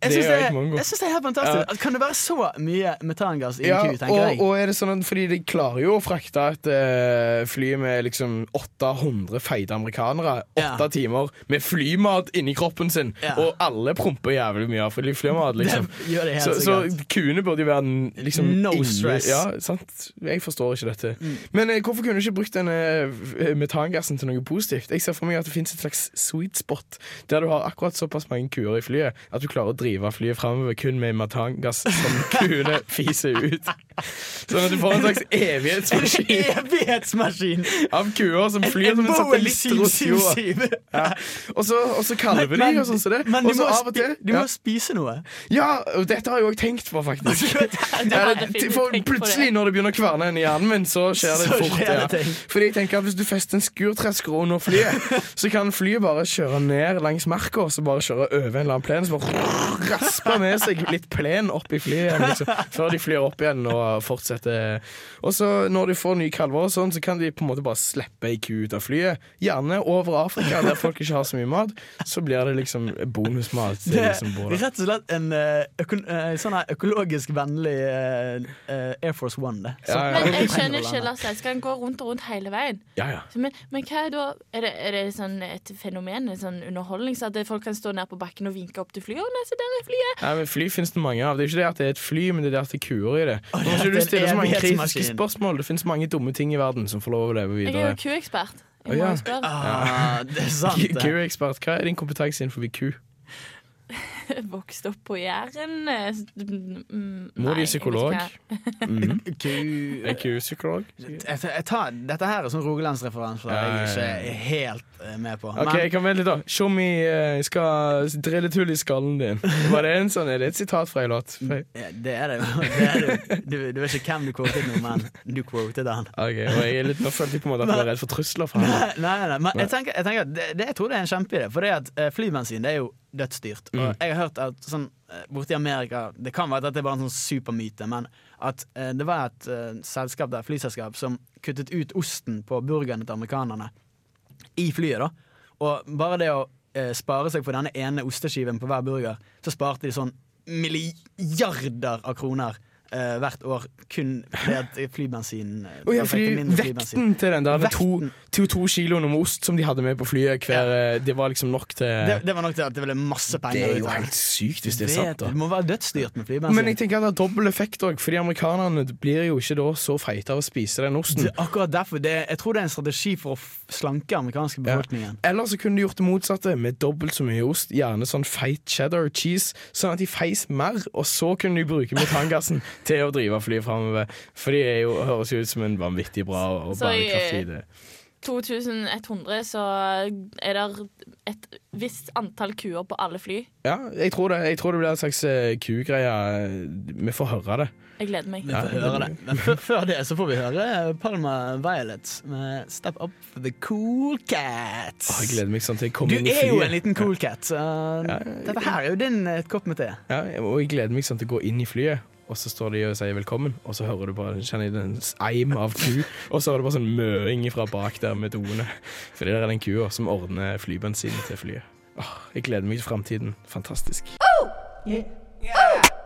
S6: Det
S4: syns
S6: er
S4: det,
S6: jo ikke mongo.
S4: jeg synes det er helt fantastisk. At Kan det være så mye metangass i en ku, tenker
S6: og,
S4: jeg.
S6: og er det sånn at Fordi de klarer jo å frakte et eh, fly med liksom 800 feite amerikanere åtte timer med flymat inni kroppen sin,
S4: Ja.
S6: og alle promper jævlig mye av fly- flymat, liksom.
S4: <laughs> Det gjør det helt
S6: så, så
S4: sikkert.
S6: kuene burde jo være n- liksom
S4: No
S6: inne-
S4: stress.
S6: Ja, sant? Jeg forstår ikke dette.
S4: Mm.
S6: Men eh, hvorfor kunne du ikke brukt denne eh, metangassen til noe positivt? Jeg ser for meg at det fins et slags sweet spot der du har akkurat såpass mange kuer i flyet at du klarer å drive flyet framover kun med metangass
S4: <laughs>
S6: som kuene fiser ut. Sånn at du får en slags evighetsmaskin.
S4: En <laughs>
S6: <laughs>
S4: evighetsmaskin
S6: Av kuer som flyr
S4: En
S6: som en
S4: Boeing
S6: satellitt rundt jorda.
S4: 777.
S6: Ja. Og så, og så kalver de
S4: Men-
S6: og sånn som det.
S4: men de
S6: Og så
S4: må
S6: av og til
S4: spi- de må spise noe.
S6: <laughs> Ja, og dette har jeg òg tenkt på, faktisk.
S4: har
S6: Ja,
S4: jeg
S6: det,
S4: definitivt
S6: for
S4: tenkt på det.
S6: plutselig, når det begynner å kverne inn i hjernen min, så skjer
S4: <laughs>
S6: det
S4: Så
S6: fort.
S4: skjer det
S6: Ja.
S4: ting.
S6: Fordi jeg tenker at Hvis du fester en skurtresker under
S4: <laughs>
S6: flyet, så kan flyet bare kjøre ned langs marka og så bare kjøre over en eller annen plen. Så bare raspe med seg litt plen opp i flyet igjen, liksom, før de flyr opp igjen og fortsetter. Og så Når de får nye kalver, og sånn, så kan de på en måte bare slippe ei ku ut av flyet. Gjerne over Afrika, der folk ikke har så mye mat. Så blir det liksom bonusmat. til
S4: Det
S6: de som bor
S4: er
S6: der.
S4: rett og slett en eh, øko- eh, sånn her økologisk vennlig eh, eh, Air Force One. Det. Så-
S6: Ja, ja.
S7: Men jeg skjønner ikke, Lars Eidskan går rundt og rundt hele veien.
S6: Ja, ja.
S7: Så, men, men hva er da Er det, er det sånn et fenomen, en sånn underholdning, så at det- folk kan stå ned på bakken og vinke opp til flyet? Å, nei, se der er flyet!
S6: Nei, men Fly finnes det mange av. Det er ikke det at det er et fly, men det er det at det er kuer i det.
S4: det
S6: Nå må
S4: er
S6: ikke du
S4: en
S6: stille så mange kritiske
S4: evighetsmaskin.
S6: spørsmål. Det finnes mange dumme ting i verden som får lov å leve
S7: Jeg er
S6: videre.
S7: jo kuekspert.
S6: Å,
S7: Jeg må
S6: ja.
S7: jo spørre. <laughs>
S4: Ah, det er sant, det.
S6: Kuekspert, hva er din kompetanse innenfor ku?
S7: Vokst opp på Jæren eh, s- mm,
S6: Mor
S7: nei,
S6: di
S7: jeg vet
S6: psykolog.
S7: ikke.
S6: <laughs> Mhm.
S4: Ku-
S6: Er ku-psykolog?
S4: Jeg, jeg tar, dette her er sånn Rogalandsreferanse
S6: Ja, ja, ja.
S4: jeg ikke er helt eh, med på.
S6: Ok,
S4: Men-
S6: jeg kan vente litt da Tjommi eh, skal drille et hull i skallen din. Var det en sånn? Er det et sitat fra en låt? Fra-
S4: Ja, det er det jo. <laughs> Det er det. jo. Du, du vet ikke hvem du quotet nå, men du quotet han.
S6: Ok, og jeg er litt, Nå følte jeg på en måte at jeg var redd for trusler fra ham.
S4: Nei, nei, nei, men jeg tenker, jeg, tenker at det, det, jeg tror det er en kjempeidé. For det at eh, flybensin det er jo dødsdyrt. Og
S6: Mm.
S4: jeg har hørt at sånn eh, borti Amerika Det kan være at det er bare en sånn supermyte, men at eh, det var et eh, selskap der, flyselskap som kuttet ut osten på burgerne til amerikanerne i flyet. da Og bare det å eh, spare seg for denne ene osteskiven på hver burger, så sparte de sånn milliarder av kroner. eh, hvert år kun fordi at flybensinen eh,
S6: Å ja,
S4: de
S6: fordi
S4: trengte mindre flybensin.
S6: vekten til den der med to, to, to kiloene med ost som de hadde med på flyet, hver, eh, det var liksom nok til
S4: det, det var nok til at det ville masse penger.
S6: Det
S4: ut
S6: er jo
S4: av
S6: helt sykt hvis det er
S4: Vet
S6: sant,
S4: du,
S6: da.
S4: Det må altså- være dødsdyrt med flybensin.
S6: Men jeg tenker at det er dobbel effekt òg, fordi amerikanerne blir jo ikke da så feite av å spise den osten.
S4: det er akkurat derfor det, Jeg tror det er en strategi for å f- slanke amerikanske befolkningen.
S6: Eller så kunne de gjort det motsatte, med dobbelt så mye ost, gjerne sånn feit cheddar cheese, sånn at de feis mer, og så kunne de bruke <laughs> metangassen til å drive flyet framover. For de er jo, høres jo ut som en vanvittig bra og
S7: Så i-
S6: bærekraftig idé.
S7: 2100 så er det et visst antall kuer på alle fly.
S6: Ja, jeg tror det. Jeg tror det blir en slags eh, kugreie. Vi får høre det.
S7: Jeg gleder meg.
S6: Vi får
S4: Vi hører det. Men før- før det så får vi høre eh, Palma Violets med 'Step Up for the Cool Cats'.
S6: Å, jeg gleder meg sånn til jeg
S4: Du
S6: kommer inn i
S4: er
S6: flyet.
S4: jo en liten cool cat. Så dette her er jo din eh, kopp med te.
S6: Ja, og jeg gleder meg sånn til å gå inn i flyet, og så står de og sier velkommen, og så hører du bare kjenner jeg den eim av ku, og så er det bare sånn møing fra bak der med doene. Fordi der er den kua som ordner flybensin til flyet. Åh, jeg gleder meg til framtiden. Fantastisk.
S14: Yeah. Yeah.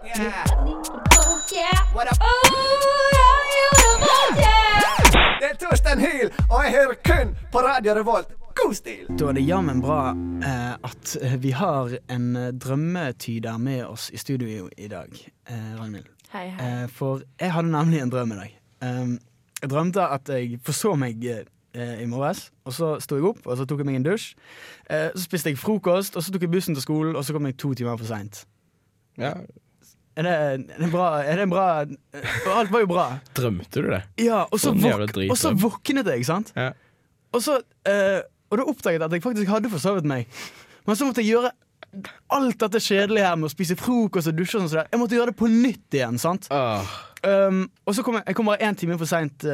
S14: Yeah. Oh, yeah. What up? Oh, yeah. Det er Torstein Hyl, og jeg hører kun på Radio Revolt. God stil!
S4: Da er det jammen bra eh, at eh, vi har en eh, drømmetyder med oss i studio i dag, eh, Ragnhild.
S7: Hei, hei.
S4: Eh, for jeg hadde nemlig en drøm i dag. Um, jeg drømte at jeg forså meg eh, i morges, og så sto jeg opp, og så tok jeg meg en dusj. Eh, så spiste jeg frokost, og så tok jeg bussen til skolen, og så kom jeg to timer for seint. Er det, er det bra? Er det bra? eh, Og alt var jo bra.
S6: Drømte du det?
S4: Ja, og så,
S6: For en
S4: våk-
S6: jævla dritdrøm.
S4: og så våknet jeg, sant?
S6: Ja.
S4: Og, så, eh, og da oppdaget jeg at jeg faktisk hadde forsovet meg. Men så måtte jeg gjøre alt dette kjedelige her med å spise frokost og dusje. og sånn som det. Jeg måtte gjøre det på nytt igjen. sant? Um, og så kom jeg, jeg kom bare én time for seint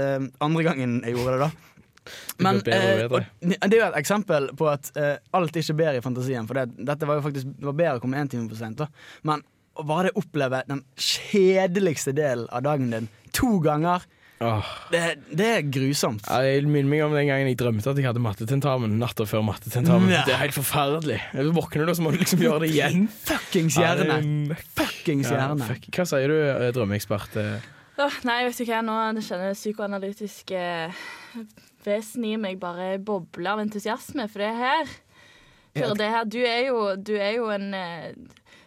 S4: andre gangen jeg gjorde det. da men,
S6: blir bedre og
S4: eh,
S6: bedre.
S4: og det det er jo et eksempel på at eh, alt ikke ber i fantasien. For det, dette var jo faktisk det var bedre å komme én time for sent. da. Men å bare det oppleve den kjedeligste delen av dagen din to ganger Det, er grusomt.
S6: Ja, jeg minner meg om den gangen jeg drømte at jeg hadde mattetentamen natta før mattetentamen.
S4: Nei.
S6: Det er helt forferdelig. Du våkner du, og så må du liksom gjøre det igjen.
S4: Fuckings
S6: Ja, det er
S4: hjerne. Fuckings
S6: Ja,
S4: hjerne.
S6: fuck. Hva sier du, eh, drømmeekspert? eh?
S7: Åh, nei, vet du hva, nå det kjenner det psykoanalytiske vesenet i meg bare bobler av entusiasme for det her. For det her, du er jo, du er jo en eh,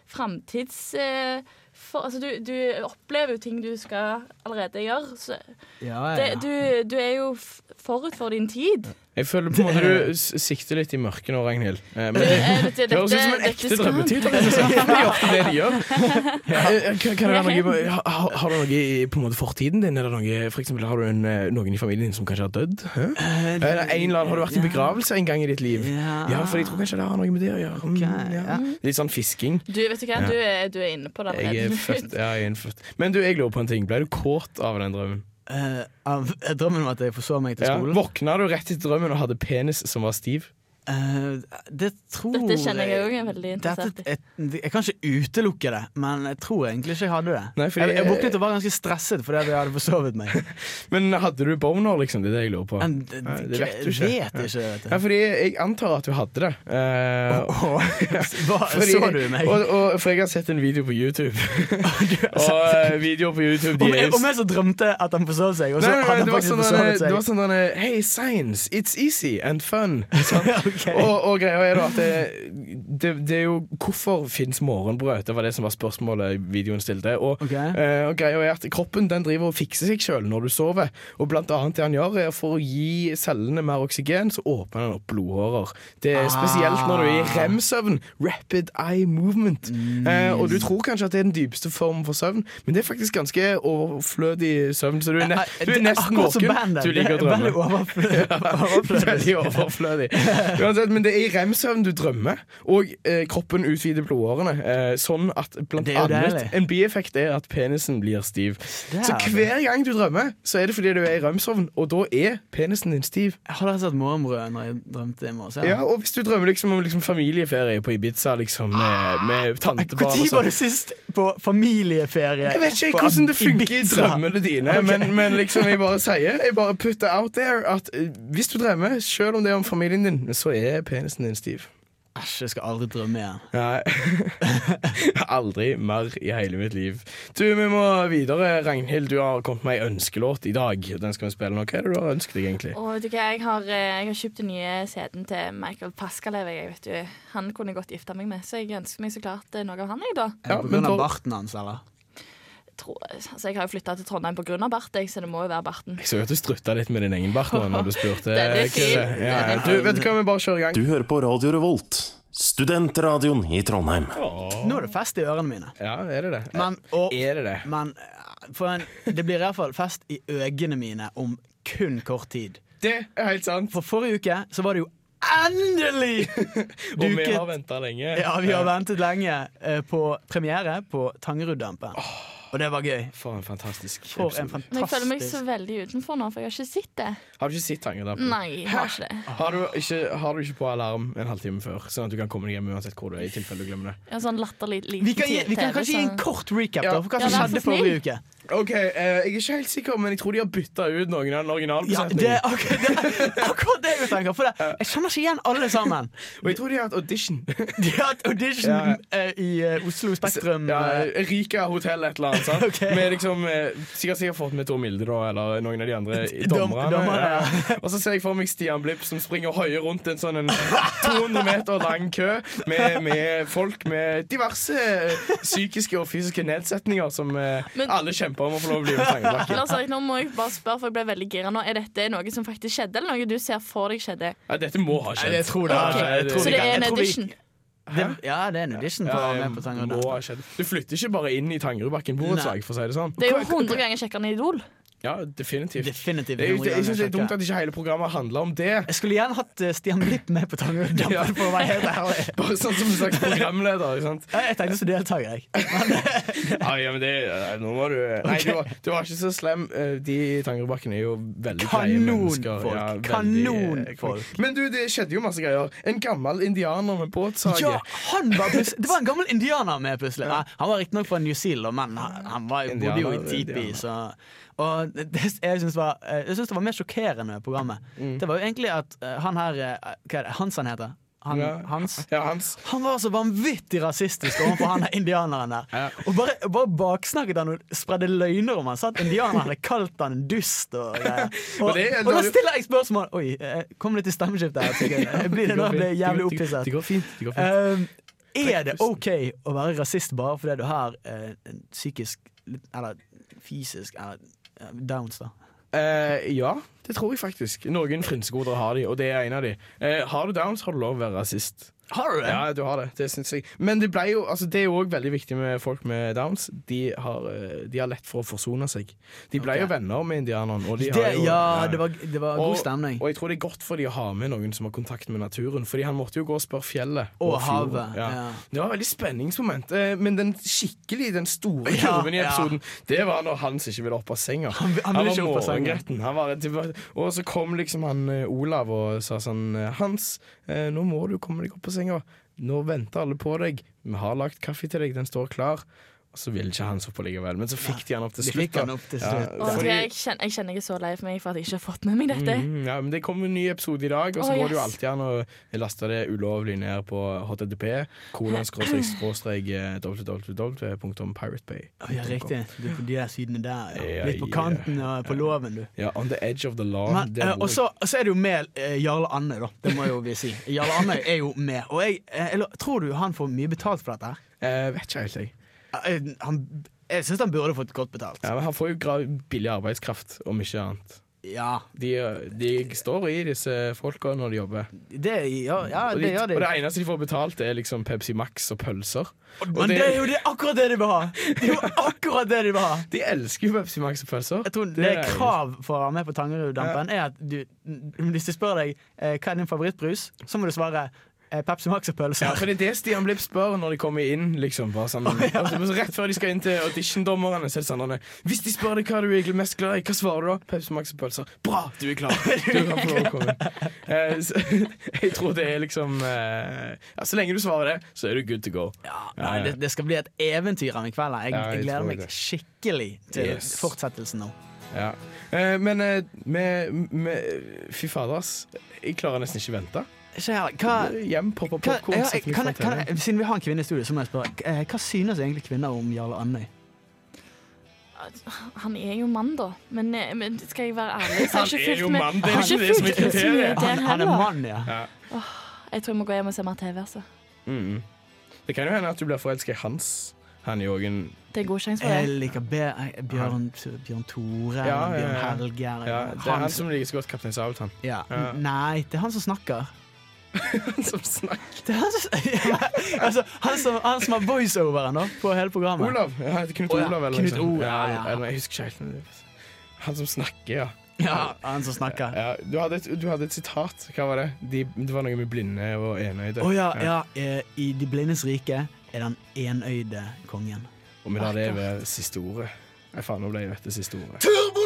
S7: framtids... Eh, for, altså, du, du opplever jo ting du skal allerede gjøre. Så,
S6: Ja, ja,
S7: det,
S6: ja.
S7: du, du er jo f forut for din
S6: <laughs>
S7: tid.
S6: Jeg føler på en måte du s- sikter litt i mørket nå, Ragnhild. Eh, Men
S7: Du, eh, vet du,
S6: det høres ut som
S7: dette-
S6: en
S7: dette
S6: ekte
S7: skal-
S6: drømmetid. rett
S7: <laughs>
S6: og slett. Det er ofte det de gjør. Eh, eh, Kan kan det være noe, ha- ha- har du noe i på en måte fortiden din? Er det noe, for eksempel, har du en, eh, noen i familien din som kanskje har dødd? Hæ? Er det en eller annen, har du vært i begravelse en gang i ditt liv?
S4: Ja.
S6: Ja, for jeg tror kanskje det har noe med det å gjøre. Mm, ja. Litt sånn fisking.
S7: Du, vet du hva,
S6: Ja.
S7: du, er, du er inne på det
S6: Jeg er
S7: allerede.
S6: født, ja, jeg er innfødt. Men du, jeg lurer på en ting. Ble du kåt av den drømmen?
S4: Eh, av drømmen om at jeg forsov meg til
S6: Ja.
S4: skolen.
S6: Våkna du rett etter drømmen og hadde penis som var stiv?
S4: Eh, det tror
S7: Dette kjenner jeg òg er veldig interessert
S4: Dette, jeg, jeg kan ikke utelukke det, men jeg tror egentlig ikke jeg hadde det.
S6: Nei, fordi-
S4: jeg, jeg våknet og var ganske stresset fordi at jeg hadde forsovet
S6: <laughs>
S4: meg.
S6: Men hadde du boner, liksom? Det er det jeg lurer på.
S4: Men det-
S6: Nei,
S4: det vet jeg ikke, vet du.
S6: Ja, fordi jeg antar at du hadde det. Eh, <laughs>
S4: Hva- så du meg?
S6: Og, og, for jeg har sett en video på YouTube.
S4: <laughs>
S6: og eh, videoer på YouTube de
S4: Om
S6: er
S4: jeg,
S6: jo
S4: om jeg så drømte at han forsov seg, og så
S6: Nei, nei, nei,
S4: hadde han
S6: det var
S4: faktisk
S6: sånn
S4: forsovet
S6: derne-
S4: seg.
S6: det
S4: <laughs>
S6: var sånn derne, Hey, science, it's easy and fun. Sånn. og, og greia er da at det, det, det er jo Hvorfor fins morgenbrød? Det var det som var spørsmålet videoen stilte. Og, eh, og greia er at kroppen den driver og fikser seg sjøl når du sover. Og blant annet det han gjør, er for å gi cellene mer oksygen, så åpner han opp blodårer. Det er spesielt når du er
S4: Ah.
S6: i REM-søvn. Rapid eye movement.
S4: Mm.
S6: Eh, og du tror kanskje at det er den dypeste formen for søvn, men det er faktisk ganske overflødig søvn. Så du er, ne du
S4: Eh, Det
S6: er
S4: er
S6: nesten
S4: akkurat som
S6: våken.
S4: bandet.
S6: Du
S4: Det
S6: liker
S4: er
S6: å drømme.
S4: veldig
S6: <laughs>
S4: overflødig. overflødig.
S6: Veldig overflødig. Uansett, men det er i rem-søvn du drømmer, og eh, kroppen utvider blodårene. Eh, sånn at blant
S4: Det er jo
S6: annet
S4: deilig.
S6: En bieffekt er at penisen blir stiv. Så
S4: Dæven.
S6: hver gang du drømmer, så er det fordi du er i rem-søvn, og da er penisen din stiv.
S4: Jeg hadde hatt morgenbrød når jeg drømte i morges.
S6: Ja, og hvis du drømmer liksom om liksom familieferie på Ibiza liksom, med, med tantebarn
S4: Når
S6: og
S4: Ah, var
S6: sånn
S4: du sist på familieferie?
S6: Jeg vet ikke
S4: på
S6: hvordan det funker i
S4: Ibiza?
S6: drømmene dine,
S4: Ok.
S6: men, men liksom jeg bare sier Jeg bare putter out there at eh, hvis du drømmer, selv om det er om familien din, så er penisen din stiv.
S4: Æsj, jeg skal aldri drømme igjen.
S6: Nei. <laughs> Aldri mer i hele mitt liv. Du, vi må videre. Ragnhild, du har kommet med ei ønskelåt i dag. Den skal vi spille nå. Hva er det du har ønsket deg, egentlig?
S7: Og vet du hva, jeg har, eh, jeg har kjøpt den nye CD-en til Michael Paskalev. Jeg, vet du. Han kunne jeg godt gifta meg med, så jeg ønsker meg så klart eh, noe av han. Jeg, da.
S4: Er det på grunn av barten hans, eller?
S7: Tror- altså, jeg har jo flytta til Trondheim pga. bart, jeg, så det må jo være barten.
S6: Jeg så jo at du strutta litt med din egen bart nå når du spurte.
S7: Den er
S6: Kyrre.
S7: fin.
S6: Ja,
S7: Den
S6: ja.
S7: er
S6: Du, vet du hva, vi bare kjører i gang.
S15: Du hører på Radio Revolt, studentradioen i Trondheim.
S4: Nå er det fest i ørene mine.
S6: Ja, er det det?
S4: Men, og,
S6: er det det?
S4: Men eh, for en, det blir iallfall fest i øynene mine om kun kort tid.
S6: Det er helt sant.
S4: For forrige uke så var det jo
S6: <laughs>
S4: endelig duket
S6: Og vi har venta lenge.
S4: Ja, vi har ventet lenge eh, på premiere på Tangeruddampen. Og det var gøy.
S6: For en fantastisk
S4: For en
S7: Men jeg føler meg
S4: fantastisk
S7: så veldig utenfor nå, for jeg har ikke sett det.
S6: Har du ikke sett Tangerdampen?
S7: Nei, jeg har ikke det.
S6: Har du ikke, har du ikke på alarm en halvtime før, sånn at du kan komme deg hjem uansett hvor du er? i tilfelle du glemmer det
S7: Jeg har sånn latterlig liten
S4: Vi kan, gi, vi kan
S7: TV,
S4: kanskje gi
S7: så-
S4: en kort recap
S6: Ja.
S4: da, for hva som
S6: Ja, vær så
S4: skjedde
S6: snill.
S4: forrige uke.
S6: Ok, eh, Jeg er ikke helt sikker, men jeg tror de har bytta ut noen av den originale
S4: Ja, det er akkurat det, er akkurat det jeg tenker. For det, jeg kjenner ikke igjen alle sammen.
S6: Og jeg tror de har hatt audition.
S4: De har hatt audition
S6: Ja, ja.
S4: eh, i eh, Oslo Spektrum.
S6: <laughs> Ja,
S4: eh,
S6: Rika hotell et eller annet. sant?
S4: <laughs> Ok.
S6: Med liksom, eh, sikkert sikkert fått med Tor Milde da, eller noen av de andre
S4: <laughs> Dom-
S6: dommerne.
S4: dommerne, ja.
S6: ja. Og så ser jeg for meg Stian Blipp som springer og hoier rundt en sånn en 200 meter lang kø med, med folk med diverse eh, psykiske og fysiske nedsetninger som eh,
S7: Men-
S6: alle kjemper om å få lov å bli med Tangebakken.
S7: Lars Erik, nå må jeg bare spørre, for jeg ble veldig gira nå. Er dette noe som faktisk skjedde, eller noe du ser for deg skjedde?
S6: Ja, dette må ha skjedd.
S4: Nei, jeg tror det har
S6: Ok,
S4: skjedd. Jeg tror
S7: Så
S4: vi
S7: det
S4: kan-
S7: er en
S4: jeg tror vi-
S7: audition?
S4: Det, ja, det er en audition for å være med på Tangerud.
S6: må ha skjedd. Du flytter ikke bare inn i Tangerudbakken borettslag, for å si det sånn.
S7: Det er jo 100 ganger kjekkere enn Idol.
S6: Ja, definitivt.
S4: Definitivt
S6: Det er
S4: 100
S6: jo- jeg synes det er
S4: ganger
S6: dumt at ikke hele programmet handler om det.
S4: <laughs> Jeg skulle gjerne hatt eh, Stian Blipp med på Tangerudjumpen.
S6: Ja.
S4: for å være helt ærlig.
S6: <laughs> Bare sånn som en slags programleder. Ikke sant?
S4: Ja, Jeg tenkte som deltaker, jeg.
S6: Ja, ja, men det, ja, nå var du Nei, du var, du var ikke så slem. Eh, De i Tangerudbakken er jo veldig greie
S4: Kanonfolk.
S6: mennesker. veldig, eh,
S4: Kanonfolk.
S6: Men du, det skjedde jo masse greier. En gammel indianer med <laughs> båtsage.
S4: Ja, han var plutselig Det var en gammel indianer med, plutselig. Nei, Han var riktignok fra New Zealand, men han, han var, bodde jo i
S6: Indianer,
S4: tipi,
S6: indianer.
S4: så Og det jeg syns var, eh, jeg synes det var mer sjokkerende med programmet,
S6: Mm.
S4: det var jo egentlig at eh, han her eh, Hva er det, Hans han heter? Han,
S6: Ja.
S4: Hans?
S6: Hans.
S4: Han var så vanvittig rasistisk overfor
S6: <laughs>
S4: han der indianeren der. Og bare, bare baksnakket han og spredde løgner om han. Sa at indianeren hadde kalt han en dust og
S6: <laughs>
S4: greier. Og,
S6: Og det er-
S4: og da stiller jeg spørsmål Oi, eh, kom det til stemmeskifte her? tenker jeg. Blir det nå jeg blir jævlig opphisset?
S6: Det går fint. Det går fint.
S4: Um, er det OK å være rasist bare fordi du har eh, en psykisk Eller fysisk eller, eh, downs, da?
S6: Eh, ja, det tror jeg faktisk. Noen frynsegoder har de, og det er en av de. Eh, har du downs, har du lov å være rasist.
S4: Har du det?
S6: Ja, du har det, det synes jeg. Men det, ble jo, altså, det er jo òg veldig viktig med folk med downs. De har, eh, de har lett for å forsone seg. De ble jo venner med indianerne. Og de
S4: det,
S6: har jo,
S4: ja, det var, det var god stemning.
S6: Og jeg tror det er godt for de å ha med noen som har kontakt med naturen. Fordi han måtte jo gå og spørre fjellet.
S4: Og
S6: fjorden.
S4: havet, ja.
S6: Det var veldig spenningsmoment. eh, Men den skikkelig, den store
S4: Ja,
S6: kurven i
S4: ja.
S6: episoden, det var når Hans ikke ville opp av senga.
S4: Han vil- han ville
S6: var
S4: ikke opp av senga.
S6: morgengretten. Han var, det var, og så kom liksom han eh, Olav og sa sånn eh, Hans, eh, nå må du komme deg opp av senga. Nå venter alle på deg. Vi har lagt kaffe til deg, den står klar. Og så ville ikke Hans opp likevel. Men så fikk de han opp til
S4: de
S6: slutt.
S4: fikk han
S6: da.
S4: opp til
S6: Ja,
S4: slutt.
S7: Å,
S6: fordi-
S7: tror jeg, jeg, kjenner, jeg kjenner jeg er så lei for meg for at jeg ikke har fått med meg dette.
S4: Mhm.
S6: Mm, ja, men Det kommer en ny episode i dag, og så
S7: Å,
S6: går det jo
S7: yes.
S6: alltid an å laste det ulovlig ned på HTTP. eh, www.piratebay.
S4: Å, ja, riktig. Du er på de der sidene der.
S6: Ja,
S4: Ja. Litt på
S6: ja.
S4: kanten og på låven, du.
S6: Ja, on the edge of the law.
S4: Men,
S6: Det er
S4: eh,
S6: hvor-
S4: og så og så er det jo med eh, Jarle Andøy, da. Det må jo vi si. Jarle Andøy er jo med. Og jeg, eh, eller, tror du han får mye betalt for dette? her?
S6: Eh, vet ikke helt, jeg.
S4: Eh, han, jeg syns han burde fått godt betalt.
S6: Ja, men han får jo gra- billig arbeidskraft, om ikke annet.
S4: Ja,
S6: De, eh, de står i disse folka når de jobber.
S4: det, ja, ja
S6: og, de,
S4: det gjør
S6: og
S4: det.
S6: det eneste de får betalt, er liksom Pepsi Max og pølser.
S4: Men det er jo det, akkurat det de vil ha! Det er
S6: <laughs>
S4: jo akkurat det de vil ha!
S6: De elsker jo Pepsi Max og pølser.
S4: Jeg tror det er krav for å være med på Tangeruddampen er at du, hvis de spør deg eh, hva er din favorittbrus, så må du svare eh, Pepsi Max og pølser.
S6: Ja, for det er det Stian Blipp spør når de kommer inn. Liksom, bare sånn, Og så- Rett før de skal inn til auditiondommerne. Så er det sånn, han er, Hvis de spør deg hva du er egentlig mest glad i, hva svarer du da? Pepsi Max og pølser. Bra, du er
S4: <laughs>
S6: klar! Du kan få lov å komme inn. Eh, så, <laughs> jeg tror det er liksom eh, ja, Så lenge du svarer det, så er du good to go.
S4: Nei, det, det skal bli et eventyr av en kveld. her. Jeg,
S6: Ja, jeg
S4: jeg gleder
S6: tror
S4: meg
S6: det.
S4: skikkelig til
S6: Yes.
S4: fortsettelsen nå.
S6: Ja. Eh, men eh, med, med Fy fader, ass. Jeg klarer nesten ikke vente.
S4: Ikke her, hva,
S6: Hjem, popper
S4: hva,
S6: popkorn,
S4: ja,
S6: setter meg
S4: kan,
S6: foran
S4: kan,
S6: TV-en.
S4: siden vi har en kvinne i studio, så må jeg spørre. eh, Hva synes egentlig kvinner om Jarle Andøy?
S7: Han er jo mann, da. Men, eh, men skal jeg være ærlig, så har
S6: Han
S7: jeg ikke
S6: er jo
S7: fulgt med.
S6: mann, det er
S7: Jeg har
S6: ikke
S7: ikke
S6: det som er
S7: fulgt med så mye
S6: kriteriet.
S7: der
S6: Han- han er
S7: heller.
S4: mann, ja.
S6: Ja.
S7: Åh, jeg tror jeg må gå hjem og se mer TV. altså.
S6: Mm. Det kan jo hende at du blir forelska i Hans. Han er jo også en
S7: Det er god sjanse for
S4: Jeg
S7: det.
S4: liker be, eh, Bjørn, Bjørn Tore,
S6: Ja, ja,
S4: Bjørn
S6: ja.
S4: Helge eller
S6: Ja, det er han som liker så godt Kaptein
S4: <laughs>
S6: Sabeltann.
S4: Ja.
S6: Ja.
S4: Nei, det er han som snakker.
S6: Han som snakker.
S4: Det er han som, <laughs> altså, han som, han som har voiceoveren da, på hele programmet.
S6: Olav. Ja, han heter Knut
S4: Å, ja.
S6: Olav. Eller
S4: Knut
S6: noe sånt.
S4: O, ja, ja.
S6: Eller, jeg husker ikke helt. Han som snakker, ja.
S4: Ja, han som snakker.
S6: ja du, hadde et, du hadde et sitat. Hva var det? De, det var noe med blinde og enøyde.
S4: Å ja, ja. eh, I De blindes rike er den enøyde kongen.
S6: Og vi lar det være siste ordet. Nei, faen, nå ble jeg vet det siste ordet.
S4: Turbo